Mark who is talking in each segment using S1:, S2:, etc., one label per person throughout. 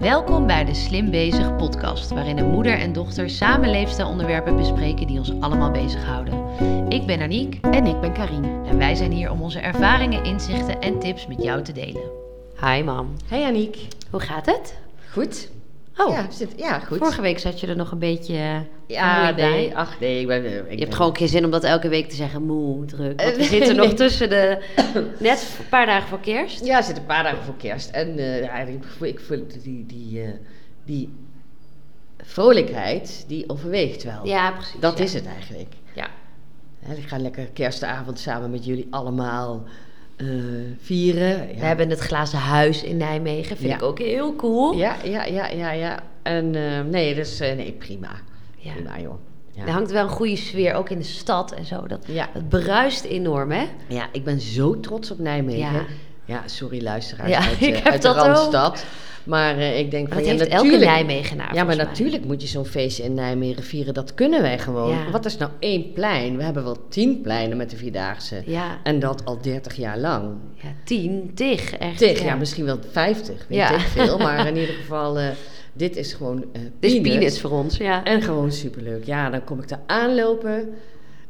S1: Welkom bij de Slim Bezig podcast, waarin een moeder en dochter samen leefstijlonderwerpen bespreken die ons allemaal bezighouden. Ik ben Aniek
S2: En ik ben Karin.
S1: en wij zijn hier om onze ervaringen, inzichten en tips met jou te delen.
S2: Hi mam.
S3: Hey Aniek.
S2: Hoe gaat het?
S3: Goed?
S2: Oh,
S3: Ja, zit, ja goed.
S2: vorige week zat je er nog een beetje eh,
S3: ja,
S2: vermoeid bij.
S3: nee. Ach nee, ik ben... eh, Ik
S2: Je hebt gewoon geen zin om dat elke week te zeggen, moe, druk. Want we
S3: Eh,
S2: zitten
S3: nee.
S2: nog tussen de, net een paar dagen voor kerst.
S3: Ja, zit een paar dagen voor kerst. En eh, ja, ik, voel- ik voel die, die, eh, die vrolijkheid, die overweegt wel.
S2: Ja, precies.
S3: Dat
S2: ja.
S3: is het eigenlijk.
S2: Ja.
S3: Hè, Ik ga lekker kerstavond samen met jullie allemaal eh, vieren. Ja.
S2: We hebben het glazen huis in Nijmegen, vind
S3: Ja.
S2: ik ook heel cool.
S3: Ja, ja, ja, ja, ja. En eh, nee, dus eh, nee, prima.
S2: Ja. Nou,
S3: Prima joh. Ja.
S2: Er hangt wel een goede sfeer, ook in de stad en zo. Dat,
S3: Ja.
S2: Het bruist enorm, hè?
S3: Ja, ik ben zo trots op Nijmegen.
S2: Ja.
S3: Ja, sorry luisteraars
S2: Ja,
S3: uit,
S2: ik
S3: eh,
S2: heb
S3: uit de
S2: dat ook.
S3: Randstad. Maar eh, ik denk
S2: Maar
S3: van,
S2: dat
S3: ja,
S2: heeft elke
S3: natuurlijk,
S2: Nijmegenaar
S3: Ja, maar
S2: volgens mij.
S3: natuurlijk moet je zo'n feestje in Nijmegen vieren. Dat kunnen wij gewoon.
S2: Ja.
S3: Wat is nou één plein? We hebben wel tien pleinen met de Vierdaagse.
S2: Ja.
S3: En dat al 30 jaar lang.
S2: ja tien, tig, echt.
S3: Tig, ja. misschien wel 50, weet
S2: Ja.
S3: ik veel. Maar in ieder geval, eh, dit is gewoon eh
S2: Dit is
S3: peanuts.
S2: peanuts voor ons, ja.
S3: En gewoon superleuk. Ja, dan kom ik daar aanlopen.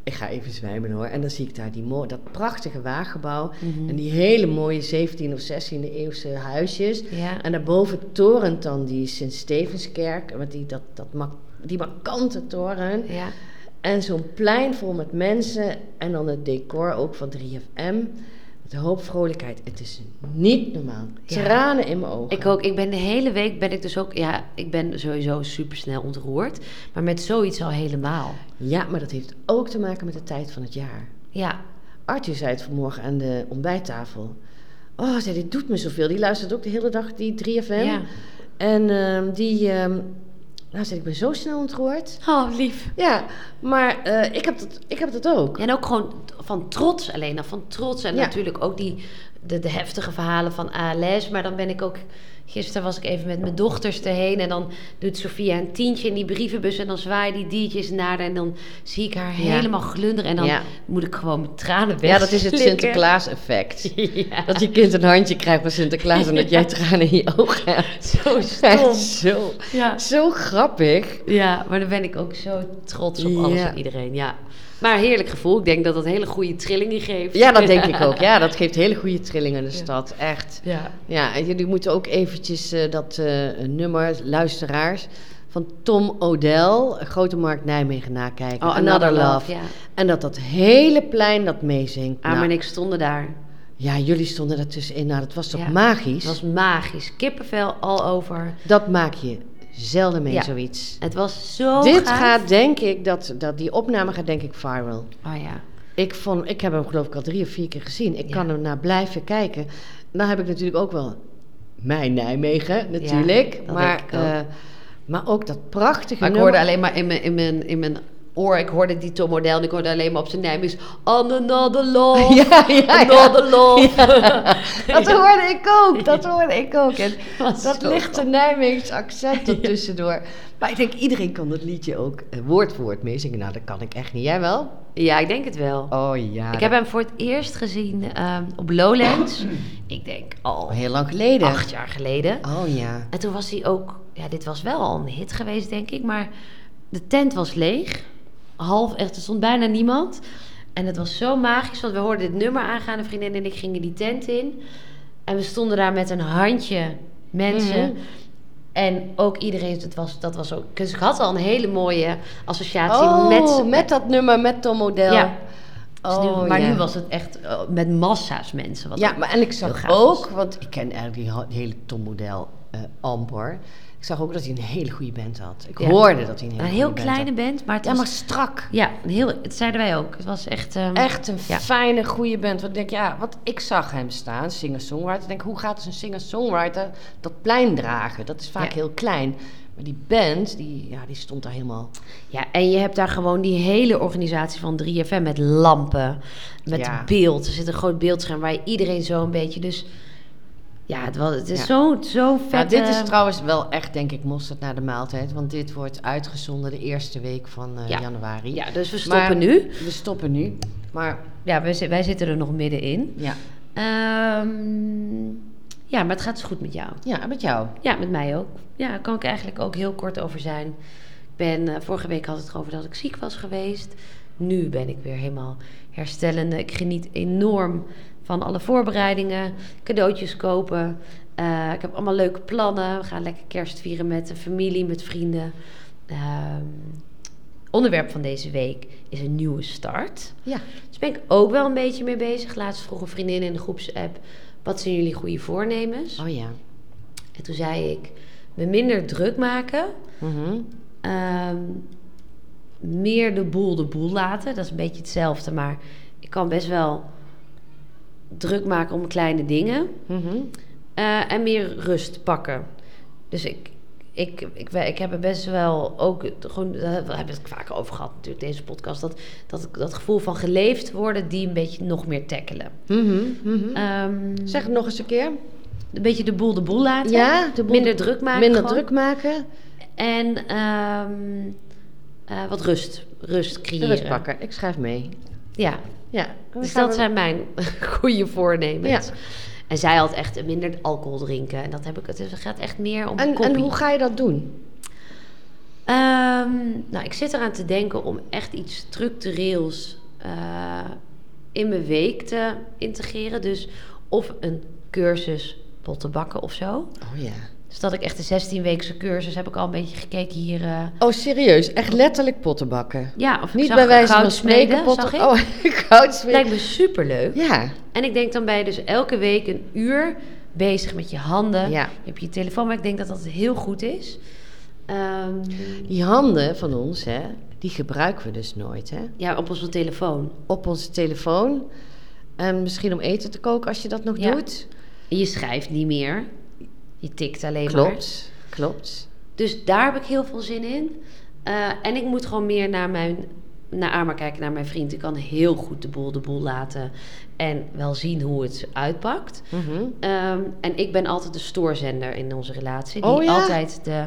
S3: Ik ga even zwijmen hoor. En dan zie ik daar die mooi, dat prachtige waaggebouw.
S2: Mhm.
S3: En die hele mooie 17e of 16e eeuwse huisjes.
S2: Ja.
S3: En daarboven torent dan die Sint-Stevenskerk. Met die, dat, dat mak- die markante toren.
S2: ja.
S3: En zo'n plein vol met mensen. En dan het decor ook van 3FM. Met een hoop vrolijkheid. Het is niet normaal.
S2: Ja.
S3: Tranen in mijn ogen.
S2: Ik ook. Ik ben de hele week ben ik dus ook. Ja, ik ben sowieso supersnel ontroerd. Maar met zoiets al helemaal.
S3: Ja, maar dat heeft ook te maken met de tijd van het jaar.
S2: Ja.
S3: Arthur zei het vanmorgen aan de ontbijttafel. Oh, zei, dit doet me zoveel. Die luistert ook de hele dag die 3FM.
S2: Ja.
S3: En ehm, die... ehm nou, zei, ik ben zo snel ontroerd.
S2: Oh, lief.
S3: Ja, maar eh, ik, heb dat, ik heb dat ook.
S2: En ook gewoon t- van trots alleen al. Van trots. En
S3: Ja.
S2: natuurlijk ook die, de, de heftige verhalen van ALS. Maar dan ben ik ook... Gisteren was ik even met mijn dochters erheen. En dan doet Sofia een tientje in die brievenbus. En dan zwaaien die diertjes naar haar. En dan zie ik haar
S3: Ja.
S2: helemaal glunderen. En dan
S3: Ja.
S2: moet ik gewoon mijn tranen weg.
S3: Ja, dat is het Sinterklaas-effect. Dat je kind een handje krijgt van Sinterklaas... en dat jij tranen in je ogen hebt.
S2: Zo stom.
S3: Echt zo,
S2: Ja.
S3: zo grappig.
S2: Ja, maar dan ben ik ook zo trots op alles
S3: Ja.
S2: en iedereen. Ja. Maar heerlijk gevoel. Ik denk dat dat hele goede trillingen geeft.
S3: Ja, dat denk ik ook. Ja, dat geeft hele goede trillingen in de stad. Echt.
S2: Ja.
S3: Ja, en jullie moeten ook eventjes eh, dat eh, nummer, luisteraars, van Tom O'Dell, Grote Markt Nijmegen, nakijken.
S2: Oh, Another Love, ja.
S3: En dat dat hele plein dat meezingt.
S2: Arm
S3: Nou,
S2: en ik Ah, stonden daar.
S3: Ja, jullie stonden daartussenin. Nou, dat was toch
S2: Ja.
S3: magisch?
S2: Het was magisch. Kippenvel al over.
S3: Dat maak je zelden mee,
S2: Ja.
S3: zoiets.
S2: Het was zo
S3: Dit
S2: gaaf.
S3: gaat denk ik, dat, dat, die opname gaat denk ik viral.
S2: Oh ja.
S3: Ik, vond, ik heb hem geloof ik al drie of vier keer gezien. Ik
S2: Ja.
S3: kan hem naar blijven kijken. Dan heb ik natuurlijk ook wel mijn Nijmegen, natuurlijk.
S2: dat
S3: maar,
S2: denk ik ook.
S3: eh, maar ook dat prachtige
S2: Maar ik
S3: nummer.
S2: hoorde alleen maar in mijn, in mijn, in mijn oor, ik hoorde die Tom O'Dell en ik hoorde alleen maar op zijn Nijmegen. On another love,
S3: Ja, ja, ja.
S2: another love.
S3: Dat hoorde ik ook, dat hoorde ik ook. En
S2: Was
S3: dat
S2: zo
S3: lichte Nijmeegse accent er tussendoor. Maar ik denk, iedereen kan dat liedje ook eh, woord voor woord meezingen. Nou, dat kan ik echt niet. Jij wel?
S2: Ja, ik denk het wel.
S3: Oh ja.
S2: Ik heb hem voor het eerst gezien ehm, op Lowlands. ik denk al
S3: heel lang geleden.
S2: acht jaar oh, geleden.
S3: Oh ja.
S2: En toen was hij ook, ja, dit was wel al een hit geweest, denk ik, maar de tent was leeg. Half echt, er stond bijna niemand. En het was zo magisch, want we hoorden dit nummer aangaan. Een vriendin en ik gingen die tent in. En we stonden daar met een handje mensen.
S3: Mhm.
S2: En ook iedereen, het was, dat was ook. Dus ik had al een hele mooie associatie
S3: Oh,
S2: met,
S3: met, dat nummer, met Tom O'Dell.
S2: Ja. Dus nu-
S3: Oh,
S2: maar
S3: ja.
S2: nu was het echt eh, met massa's mensen. Wat
S3: Ja, maar en ik
S2: heel
S3: zag
S2: gaaf
S3: ook,
S2: was.
S3: want ik ken eigenlijk die ha- die hele Tom-model eh amper. Ik zag ook dat hij een hele goede band had. Ik
S2: Ja.
S3: hoorde dat hij een hele
S2: een
S3: goede
S2: heel
S3: band
S2: kleine
S3: had.
S2: band, maar het
S3: Ja,
S2: was-
S3: maar strak.
S2: Ja, een heel, het zeiden wij ook. Het was echt... ehm,
S3: Echt een
S2: Ja.
S3: fijne, goede band. Want ik denk, ja, want ik zag hem staan, singer-songwriter. Ik denk, hoe gaat dus een singer-songwriter dat plein dragen? Dat is vaak
S2: Ja.
S3: heel klein. Maar die band, die, ja, die stond daar helemaal...
S2: Ja, en je hebt daar gewoon die hele organisatie van 3FM met lampen, met
S3: Ja.
S2: beeld. Er zit een groot beeldscherm waar je iedereen zo een beetje... Dus ja, het, was, het is
S3: Ja.
S2: zo, zo vet.
S3: Ja, Nou, dit is
S2: eh,
S3: trouwens wel echt, denk ik, mosterd naar de maaltijd. Want dit wordt uitgezonden de eerste week van eh,
S2: Ja.
S3: januari.
S2: Ja, dus we
S3: Maar
S2: stoppen nu.
S3: We stoppen nu. Maar
S2: Ja, wij, zi- wij zitten er nog middenin.
S3: ja,
S2: Ehm, Ja, maar het gaat dus goed met jou.
S1: Ja, met jou.
S2: Ja, met mij ook. Ja, daar kan ik eigenlijk ook heel kort over zijn. Ik ben, eh, vorige week had het erover dat ik ziek was geweest. Nu ben ik weer helemaal herstellende. Ik geniet enorm van alle voorbereidingen, cadeautjes kopen. Eh, ik heb allemaal leuke plannen. We gaan lekker kerst vieren met de familie, met vrienden. Ehm, onderwerp van deze week is een nieuwe start.
S1: Ja.
S2: Dus ben ik ook wel een beetje mee bezig. Laatst vroeg een vriendin in de groepsapp: wat zijn jullie goede voornemens?
S1: Oh ja.
S2: En toen zei ik, me minder druk maken,
S1: Mhm.
S2: ehm, meer de boel de boel laten. Dat is een beetje hetzelfde, maar ik kan best wel druk maken om kleine dingen.
S1: Mhm.
S2: Eh, en meer rust pakken. Dus ik, ik, ik, we- ik heb er best wel ook, het- gewoon, daar hebben we het vaak over gehad natuurlijk, deze podcast, dat, dat, dat gevoel van geleefd worden, die een beetje nog meer tackelen.
S3: Mhm, mhm.
S2: Ehm,
S3: Zeg het nog eens een keer.
S2: een beetje de boel de boel laten.
S3: Ja, de boel-
S2: minder druk maken.
S3: Minder
S2: gewoon.
S3: druk maken,
S2: En ehm, eh, wat rust. Rust
S3: de
S2: creëren.
S3: rust pakken. Ik schrijf mee.
S2: Ja.
S3: Ja.
S2: Dus dat zijn mijn goede voornemens.
S3: Ja.
S2: En zij had echt minder alcohol drinken. En dat heb ik. Het is- het gaat echt meer om
S3: en,
S2: koppie.
S3: en hoe ga je dat doen?
S2: Ehm, nou, ik zit eraan te denken om echt iets structureels eh, in mijn week te integreren. Dus of een cursus potten bakken of zo.
S3: Oh ja.
S2: Dus dat ik echt de 16-weekse cursus heb ik al een beetje gekeken hier. eh,
S3: Oh, serieus? Echt letterlijk potten bakken?
S2: ja, of ik
S3: Niet
S2: zag
S3: bij wijze van
S2: goud
S3: spreken
S2: smeden,
S3: potten...
S2: zag ik.
S3: Oh,
S2: Lijkt
S3: goudsmeden.
S2: me superleuk.
S3: Ja.
S2: En ik denk dan bij dus elke week een uur bezig met je handen.
S3: Ja.
S2: Je hebt je telefoon, maar ik denk dat dat heel goed is. Ehm,
S3: Die handen van ons, hè, die gebruiken we dus nooit, hè?
S2: ja, op onze telefoon.
S3: Op onze telefoon. En misschien om eten te koken als je dat nog
S2: Ja.
S3: doet.
S2: En je schrijft niet meer. Je tikt alleen maar.
S3: Klopt, klopt.
S2: Dus daar heb ik heel veel zin in. Eh, en ik moet gewoon meer naar mijn naar Arma kijken, naar mijn vriend. Ik kan heel goed de boel de boel laten. En wel zien hoe het uitpakt.
S3: Mhm.
S2: Ehm, en ik ben altijd de stoorzender in onze relatie. Die
S3: Oh ja?
S2: altijd de.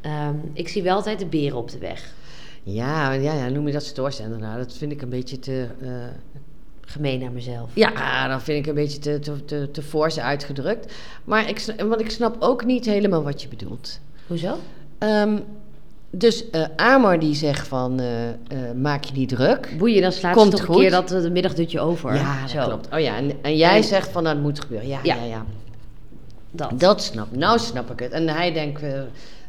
S2: ehm, ik zie wel altijd de beren op de weg.
S3: Ja, ja, ja, noem je dat stoorzender nou? Dat vind ik een beetje te... eh,
S2: Gemeen naar mezelf.
S3: Ja, dan vind ik een beetje te, te, te, te forse uitgedrukt. Maar ik, sna- want ik snap ook niet helemaal wat je bedoelt.
S2: Hoezo?
S3: Ehm, dus eh Amor die zegt van, eh, eh, maak je niet druk.
S2: Boeien, dan slaat
S3: Komt
S2: ze toch
S3: goed.
S2: een keer dat eh, de middagdutje over.
S3: Ja, dat
S2: Zo,
S3: klopt. Oh ja, en, en jij zegt van, nou, dat moet gebeuren. Ja, ja,
S2: Ja.
S3: ja.
S2: Dat.
S3: Dat snap Nou snap ik het. En hij denkt, eh,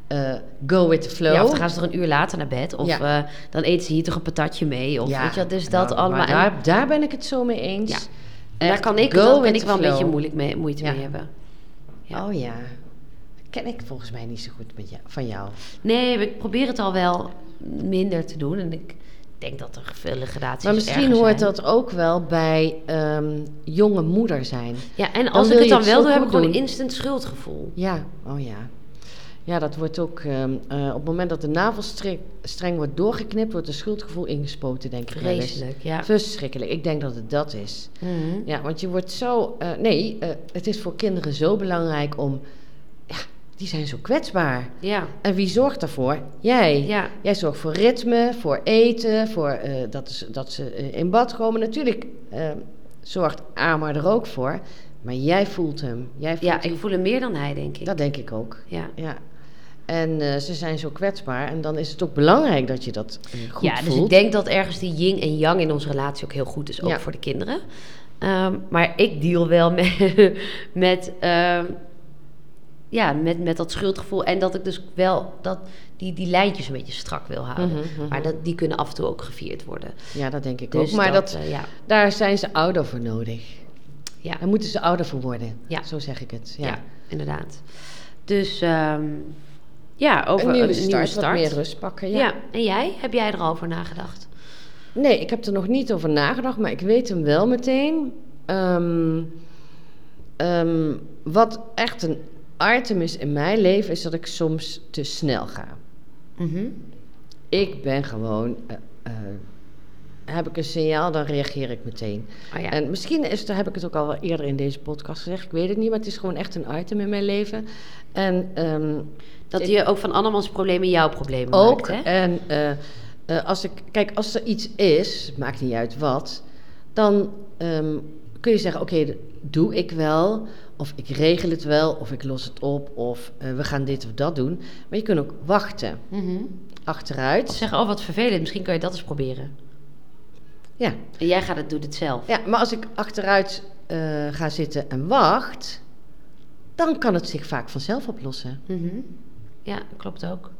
S3: eh, go with the flow.
S2: Ja, of dan gaan ze toch een uur later naar bed. Of
S3: Ja.
S2: eh, dan eten ze hier toch een patatje mee. Of
S3: Ja,
S2: weet je wat, dus
S3: nou,
S2: dat
S3: maar
S2: allemaal. En
S3: Daar, daar ben ik het zo mee eens.
S2: Ja.
S3: Echt,
S2: daar kan ik,
S3: go
S2: daar
S3: with
S2: ben ik
S3: the
S2: wel een
S3: flow.
S2: beetje moeilijk mee, moeite
S3: Ja.
S2: mee hebben. Ja.
S3: Oh ja. Ken ik volgens mij niet zo goed met jou, van jou.
S2: Nee, ik probeer het al wel minder te doen. En ik denk dat er vele gradaties
S3: Maar misschien
S2: erger
S3: hoort
S2: zijn.
S3: dat ook wel bij ehm, jonge moeder zijn.
S2: Ja, en als
S3: wil
S2: ik het
S3: je
S2: dan
S3: het
S2: wel
S3: zo
S2: doe, heb ik
S3: goed
S2: gewoon een
S3: doen.
S2: instant schuldgevoel.
S3: Ja, oh ja. Ja, dat wordt ook... ehm, eh, op het moment dat de navelstreng streng wordt doorgeknipt... wordt het schuldgevoel ingespoten, denk ik wel eens.
S2: Vreselijk, ja.
S3: Verschrikkelijk. Ik denk dat het dat is.
S2: Mhm.
S3: Ja, want je wordt zo... eh, nee, eh, het is voor kinderen zo belangrijk om... Ja, die zijn zo kwetsbaar.
S2: Ja,
S3: En wie zorgt daarvoor? Jij.
S2: ja.
S3: Jij zorgt voor ritme, voor eten, voor eh, dat, ze, dat ze eh, in bad komen. Natuurlijk eh, zorgt Amar er ook voor. Maar jij voelt hem. Jij voelt
S2: Ja, ik voel hem meer dan hij, denk ik.
S3: Dat denk ik ook.
S2: ja.
S3: Ja. En eh, ze zijn zo kwetsbaar. En dan is het ook belangrijk dat je dat eh, goed
S2: ja, dus
S3: voelt.
S2: ik denk dat ergens die yin en yang in onze relatie ook heel goed is, ook
S3: Ja.
S2: voor de kinderen. Ehm, maar ik deal wel met, met, ehm, ja, met, met dat schuldgevoel en dat ik dus wel dat, die, die lijntjes een beetje strak wil houden.
S3: Mhm, mhm.
S2: Maar dat, die kunnen af en toe ook gevierd worden.
S3: Ja, dat denk ik
S2: Dus
S3: ook. Maar dat,
S2: eh, ja,
S3: daar zijn ze ouder voor nodig.
S2: ja,
S3: Daar moeten ze ouder voor worden.
S2: Ja.
S3: Zo zeg ik het. Ja.
S2: ja. inderdaad. Dus ehm, ja, over
S3: een nieuwe
S2: een
S3: start,
S2: nieuwe
S3: wat
S2: start.
S3: meer rust pakken.
S2: ja. en jij? Heb jij er al over nagedacht?
S3: Nee, ik heb er nog niet over nagedacht, maar ik weet hem wel meteen. Ehm, ehm, wat echt een item is in mijn leven, is dat ik soms te snel ga. Mhm. Ik ben gewoon. eh, eh, heb ik een signaal, dan reageer ik meteen.
S2: Oh, ja.
S3: En misschien is, daar heb ik het ook al wel eerder in deze podcast gezegd, ik weet het niet, maar het is gewoon echt een item in mijn leven. En ehm,
S2: dat je ook van andermans problemen jouw problemen
S3: ook.
S2: maakt, hè?
S3: En eh, eh, als ik, kijk, als er iets is, maakt niet uit wat, dan ehm, kun je zeggen: oké, dat doe ik wel. Of ik regel het wel, of ik los het op, of eh, we gaan dit of dat doen. Maar je kunt ook wachten.
S2: Mhm.
S3: Achteruit.
S2: Of zeggen, oh wat vervelend, misschien kan je dat eens proberen.
S3: Ja.
S2: En jij gaat het, doet het zelf.
S3: ja, maar als ik achteruit eh, ga zitten en wacht, dan kan het zich vaak vanzelf oplossen.
S2: Mhm. Ja, klopt ook.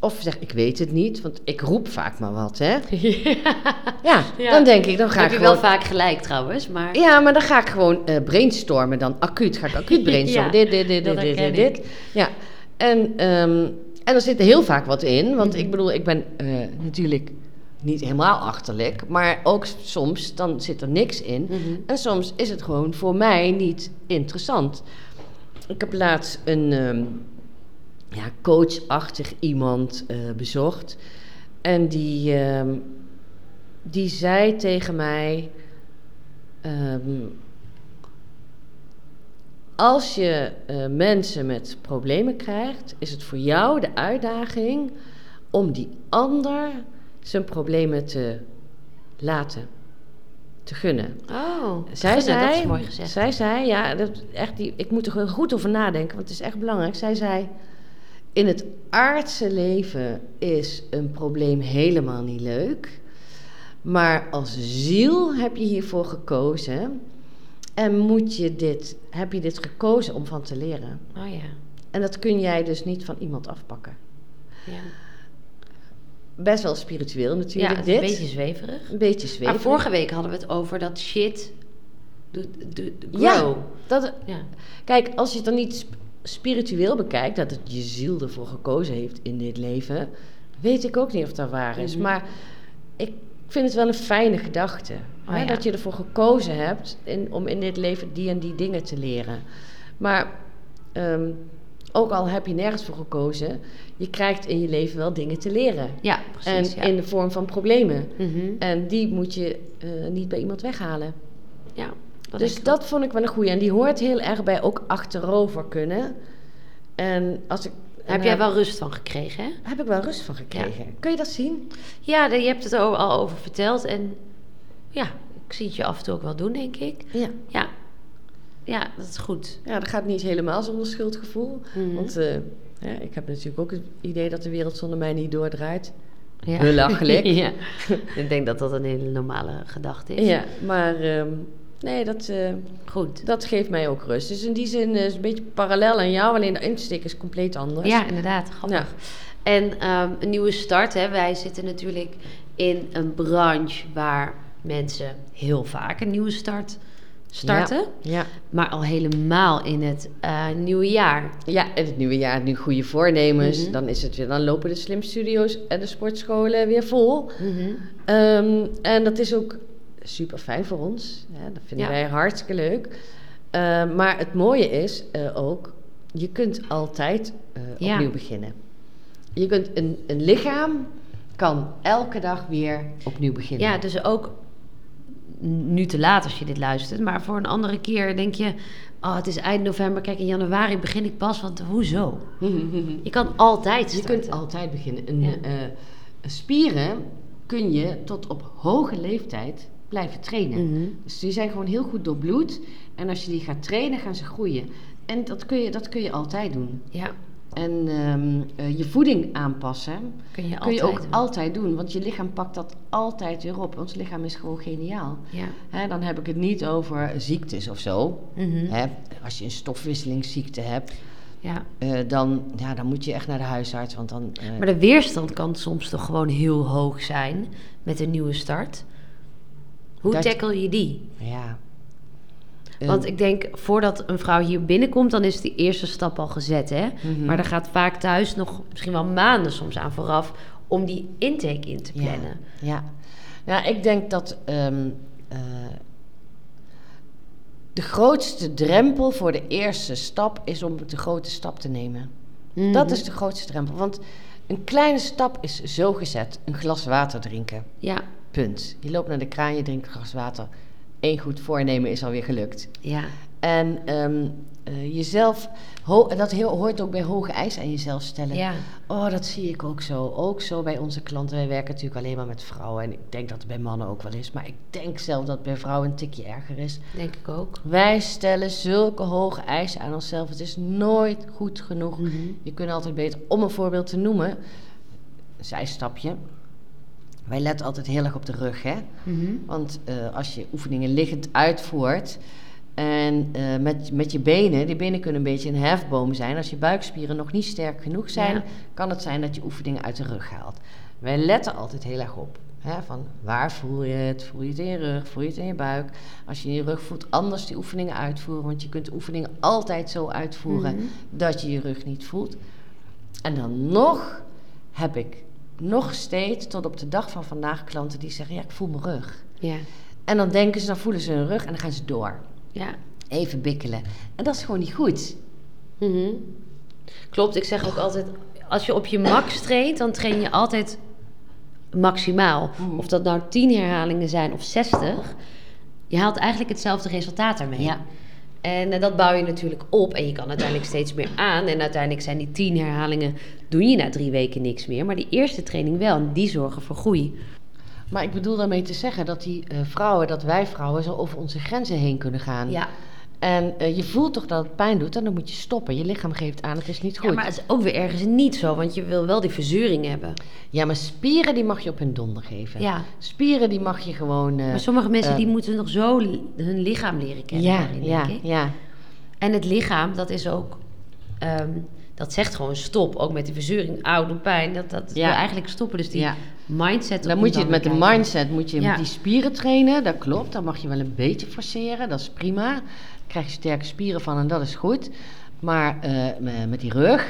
S3: Of zeg, ik weet het niet, want ik roep vaak maar wat, hè.
S2: ja.
S3: Ja,
S2: Ja.
S3: dan denk ik, dan ga
S2: heb
S3: ik
S2: je
S3: gewoon...
S2: wel vaak gelijk trouwens, maar...
S3: Ja, maar dan ga ik gewoon eh, brainstormen dan. Acuut ga ik acuut brainstormen.
S2: Ja,
S3: dit, dit, dit,
S2: dat
S3: dit, dit, dit,
S2: herken ik.
S3: dit. Ja. En, ehm, en er zit heel vaak wat in.
S2: Mhm.
S3: Want ik bedoel, ik ben eh, natuurlijk niet helemaal achterlijk. Maar ook s- soms, dan zit er niks in.
S2: Mhm.
S3: En soms is het gewoon voor mij niet interessant. Ik heb laatst een ehm, ja, coachachtig iemand eh, bezocht. En die, ehm, die zei tegen mij... ehm, als je eh, mensen met problemen krijgt, is het voor jou de uitdaging om die ander zijn problemen te laten, te gunnen.
S2: Oh,
S3: Zij
S2: gunnen,
S3: zei,
S2: dat is mooi gezegd.
S3: Zij zei, ja, dat, is echt die, ik moet er gewoon goed over nadenken, want het is echt belangrijk. Zij zei, in het aardse leven is een probleem helemaal niet leuk. Maar als ziel heb je hiervoor gekozen. En moet je dit, heb je dit gekozen om van te leren.
S2: Oh ja.
S3: En dat kun jij dus niet van iemand afpakken.
S2: ja.
S3: Best wel spiritueel natuurlijk
S2: ja het is
S3: dit.
S2: een beetje zweverig.
S3: een beetje zweverig.
S2: Maar vorige week hadden we het over dat shit... Do, do, do-
S3: Ja,
S2: grow.
S3: dat,
S2: Ja.
S3: Kijk, als je het dan niet sp- spiritueel bekijkt, dat het je ziel ervoor gekozen heeft in dit leven, weet ik ook niet of dat waar is.
S2: Mhm.
S3: Maar ik vind het wel een fijne gedachte.
S2: Oh
S3: hè,
S2: ja.
S3: Dat je ervoor gekozen hebt in, om in dit leven die en die dingen te leren. Maar ehm, ook al heb je nergens voor gekozen, je krijgt in je leven wel dingen te leren.
S2: Ja, precies.
S3: en
S2: ja.
S3: in de vorm van problemen.
S2: Mhm.
S3: En die moet je eh, niet bij iemand weghalen.
S2: ja dat denk
S3: Dus
S2: ik
S3: dat vond ik wel een goeie. En die hoort heel erg bij ook achterover kunnen. En als ik...
S2: wel.
S3: en
S2: Heb jij
S3: daar
S2: wel rust van gekregen, hè?
S3: Heb ik wel rust van gekregen. Kun je dat zien?
S2: Ja, de- je hebt het er al over verteld. En ja, ik zie het je af en toe ook wel doen, denk ik.
S3: Ja.
S2: Ja, ja dat is goed.
S3: Ja, dat gaat niet helemaal zonder schuldgevoel.
S2: Mhm.
S3: Want eh, hè, ik heb natuurlijk ook het idee dat de wereld zonder mij niet doordraait.
S2: Ja.
S3: Belachelijk.
S2: ja. Ik denk dat dat een hele normale gedachte is.
S3: Ja, maar ehm, nee, dat, eh,
S2: Goed.
S3: dat geeft mij ook rust. Dus in die zin eh, is het een beetje parallel aan jou. Alleen de insteek is compleet anders.
S2: Ja, inderdaad. Grappig. En ehm, een nieuwe start. Hè. Wij zitten natuurlijk in een branche waar mensen heel vaak een nieuwe start starten.
S3: Ja.
S2: Maar al helemaal in het eh, nieuwe jaar.
S3: Ja, en het nieuwe jaar, nu goede voornemens.
S2: Mhm.
S3: Dan, is het weer, dan lopen de slimstudio's en de sportscholen weer vol. Ehm, en dat is ook super fijn voor ons. Hè? Dat vinden
S2: Ja.
S3: wij hartstikke leuk. Ehm, maar het mooie is eh, ook, je kunt altijd eh,
S2: Ja.
S3: opnieuw beginnen. Je kunt een, een lichaam kan elke dag weer opnieuw beginnen.
S2: Ja, dus ook nu te laat als je dit luistert. Maar voor een andere keer denk je... Oh, het is eind november. Kijk, in januari begin ik pas. Want hoezo? Je kan altijd
S3: Je
S2: starten.
S3: kunt altijd beginnen. Een,
S2: Ja.
S3: eh, spieren kun je tot op hoge leeftijd blijven trainen.
S2: Mhm.
S3: Dus die zijn gewoon heel goed doorbloed. En als je die gaat trainen, gaan ze groeien. En dat kun je, dat kun je altijd doen.
S2: Ja,
S3: En ehm, eh, je voeding aanpassen
S2: kun je altijd.
S3: kun je ook
S2: doen.
S3: altijd doen. Want je lichaam pakt dat altijd weer op. Ons lichaam is gewoon geniaal.
S2: Ja.
S3: Hè, dan heb ik het niet over ziektes of zo.
S2: Mhm.
S3: Hè, als je een stofwisselingsziekte hebt,
S2: ja.
S3: eh, dan, ja, dan moet je echt naar de huisarts. Want dan, eh,
S2: Maar de weerstand kan soms toch gewoon heel hoog zijn met een nieuwe start. Hoe
S3: Dat-
S2: tackle je die?
S3: Ja.
S2: Want
S3: Eh,
S2: ik denk, voordat een vrouw hier binnenkomt, dan is de eerste stap al gezet. Hè?
S3: Mhm.
S2: Maar er gaat vaak thuis nog misschien wel maanden soms aan vooraf om die intake in te
S3: ja,
S2: plannen.
S3: Ja. Nou, ik denk dat ehm, eh, de grootste drempel voor de eerste stap is om de grote stap te nemen.
S2: Mhm.
S3: Dat is de grootste drempel. Want een kleine stap is zo gezet: een glas water drinken.
S2: Ja,
S3: Punt. Je loopt naar de kraan, je drinkt een glas water. Eén goed voornemen is alweer gelukt.
S2: ja.
S3: En ehm, eh, jezelf, ho- en dat heel, hoort ook bij hoge eisen aan jezelf stellen.
S2: Ja.
S3: Oh, dat zie ik ook zo. Ook zo bij onze klanten. Wij werken natuurlijk alleen maar met vrouwen. En ik denk dat het bij mannen ook wel is. Maar ik denk zelf dat het bij vrouwen een tikje erger is.
S2: denk ik ook.
S3: Wij stellen zulke hoge eisen aan onszelf. Het is nooit goed genoeg.
S2: Mm. Mm-hmm.
S3: Je kunt altijd beter, om een voorbeeld te noemen, zijstapje. Wij letten altijd heel erg op de rug, hè?
S2: Mm-hmm.
S3: Want eh, als je oefeningen liggend uitvoert en eh, met, met je benen, die benen kunnen een beetje een hefboom zijn. Als je buikspieren nog niet sterk genoeg zijn,
S2: Ja.
S3: kan het zijn dat je oefeningen uit de rug haalt. Wij letten altijd heel erg op. Hè, van waar voel je het? Voel je het in je rug? Voel je het in je buik? Als je in je rug voelt, anders die oefeningen uitvoeren. Want je kunt de oefeningen altijd zo uitvoeren dat je je rug niet voelt. En dan nog heb ik nog steeds tot op de dag van vandaag klanten die zeggen: Ja, ik voel mijn rug.
S2: Ja.
S3: En dan denken ze, dan voelen ze hun rug en dan gaan ze door.
S2: Ja.
S3: Even bikkelen. En dat is gewoon niet goed.
S2: Mhm. Klopt, ik zeg ook altijd, als je op je max traint, dan train je altijd maximaal.
S3: Mhm.
S2: Of dat nou 10 herhalingen zijn of 60, je haalt eigenlijk hetzelfde resultaat daarmee.
S3: Ja.
S2: En eh, dat bouw je natuurlijk op en je kan uiteindelijk steeds meer aan. En uiteindelijk zijn die 10 herhalingen, doe je na drie weken niks meer. Maar die eerste training wel, en die zorgen voor groei.
S3: Maar ik bedoel daarmee te zeggen dat die eh, vrouwen, dat wij vrouwen, zo over onze grenzen heen kunnen gaan. En eh, je voelt toch dat het pijn doet en dan moet je stoppen. Je lichaam geeft aan, het is niet goed.
S2: Ja, maar het is ook weer ergens niet zo, want je wil wel die verzuring hebben.
S3: spieren die mag je op hun donder geven.
S2: Ja.
S3: Spieren die mag je gewoon... eh,
S2: Maar sommige mensen
S3: eh,
S2: die moeten nog zo li- hun lichaam leren kennen,
S3: ja,
S2: daarin,
S3: ja,
S2: denk ik.
S3: ja.
S2: En het lichaam, dat is ook, ehm, dat zegt gewoon stop. Ook met de verzuring, oude pijn, dat, dat
S3: Ja.
S2: wil eigenlijk stoppen. Dus die
S3: Ja.
S2: mindset...
S3: Dan moet je het met de
S2: bekijken.
S3: mindset, moet je
S2: Ja.
S3: met die spieren trainen. Dat klopt, dan mag je wel een beetje forceren. Dat is prima. Daar krijg je sterke spieren van en dat is goed. Maar eh, me- met die rug...